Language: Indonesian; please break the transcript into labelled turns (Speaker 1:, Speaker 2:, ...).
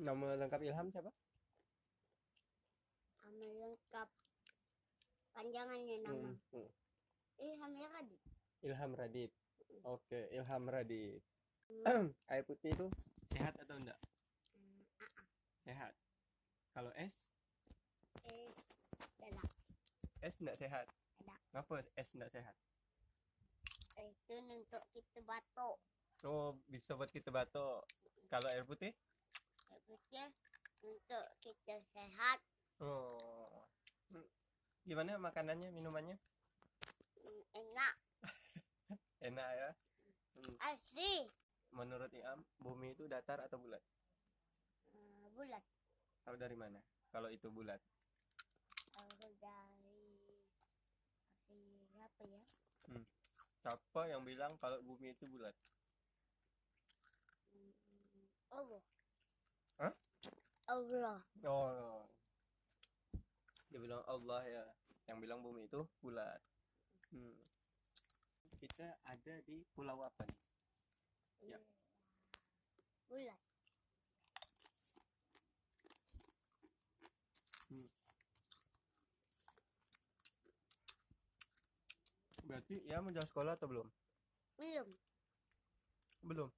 Speaker 1: Nama lengkap Ilham siapa?
Speaker 2: Nama lengkap. Panjangannya nama.
Speaker 1: Hmm, hmm.
Speaker 2: Ilham ya Radit.
Speaker 1: Ilham Radit. Oke, Ilham Radit. Air putih itu sehat atau enggak?
Speaker 2: Hmm,
Speaker 1: Sehat. Kalau es,
Speaker 2: Eh, Bella.
Speaker 1: es enggak sehat.
Speaker 2: Enggak.
Speaker 1: Kenapa es enggak sehat?
Speaker 2: Eh, Itu untuk kita batuk.
Speaker 1: Oh, bisa buat kita batuk. Kalau air putih?
Speaker 2: Sebutnya untuk kita sehat.
Speaker 1: Oh. Hmm. Gimana makanannya, minumannya?
Speaker 2: Hmm, Enak.
Speaker 1: Enak ya.
Speaker 2: Asli.
Speaker 1: Menurut Iam, bumi itu datar atau bulat?
Speaker 2: Hmm, Bulat.
Speaker 1: Tahu dari mana? Kalau itu bulat.
Speaker 2: Aku dari... dari Apa ya?
Speaker 1: Siapa yang bilang kalau bumi itu bulat?
Speaker 2: Hmm, Allah.
Speaker 1: Hah?
Speaker 2: Allah.
Speaker 1: Oh. Dia bilang Allah ya, yang bilang bumi itu bulat. Hmm. Kita ada di pulau apa nih? Ya.
Speaker 2: Bulat.
Speaker 1: Berarti ya menjelang sekolah atau belum?
Speaker 2: Belum.
Speaker 1: Belum.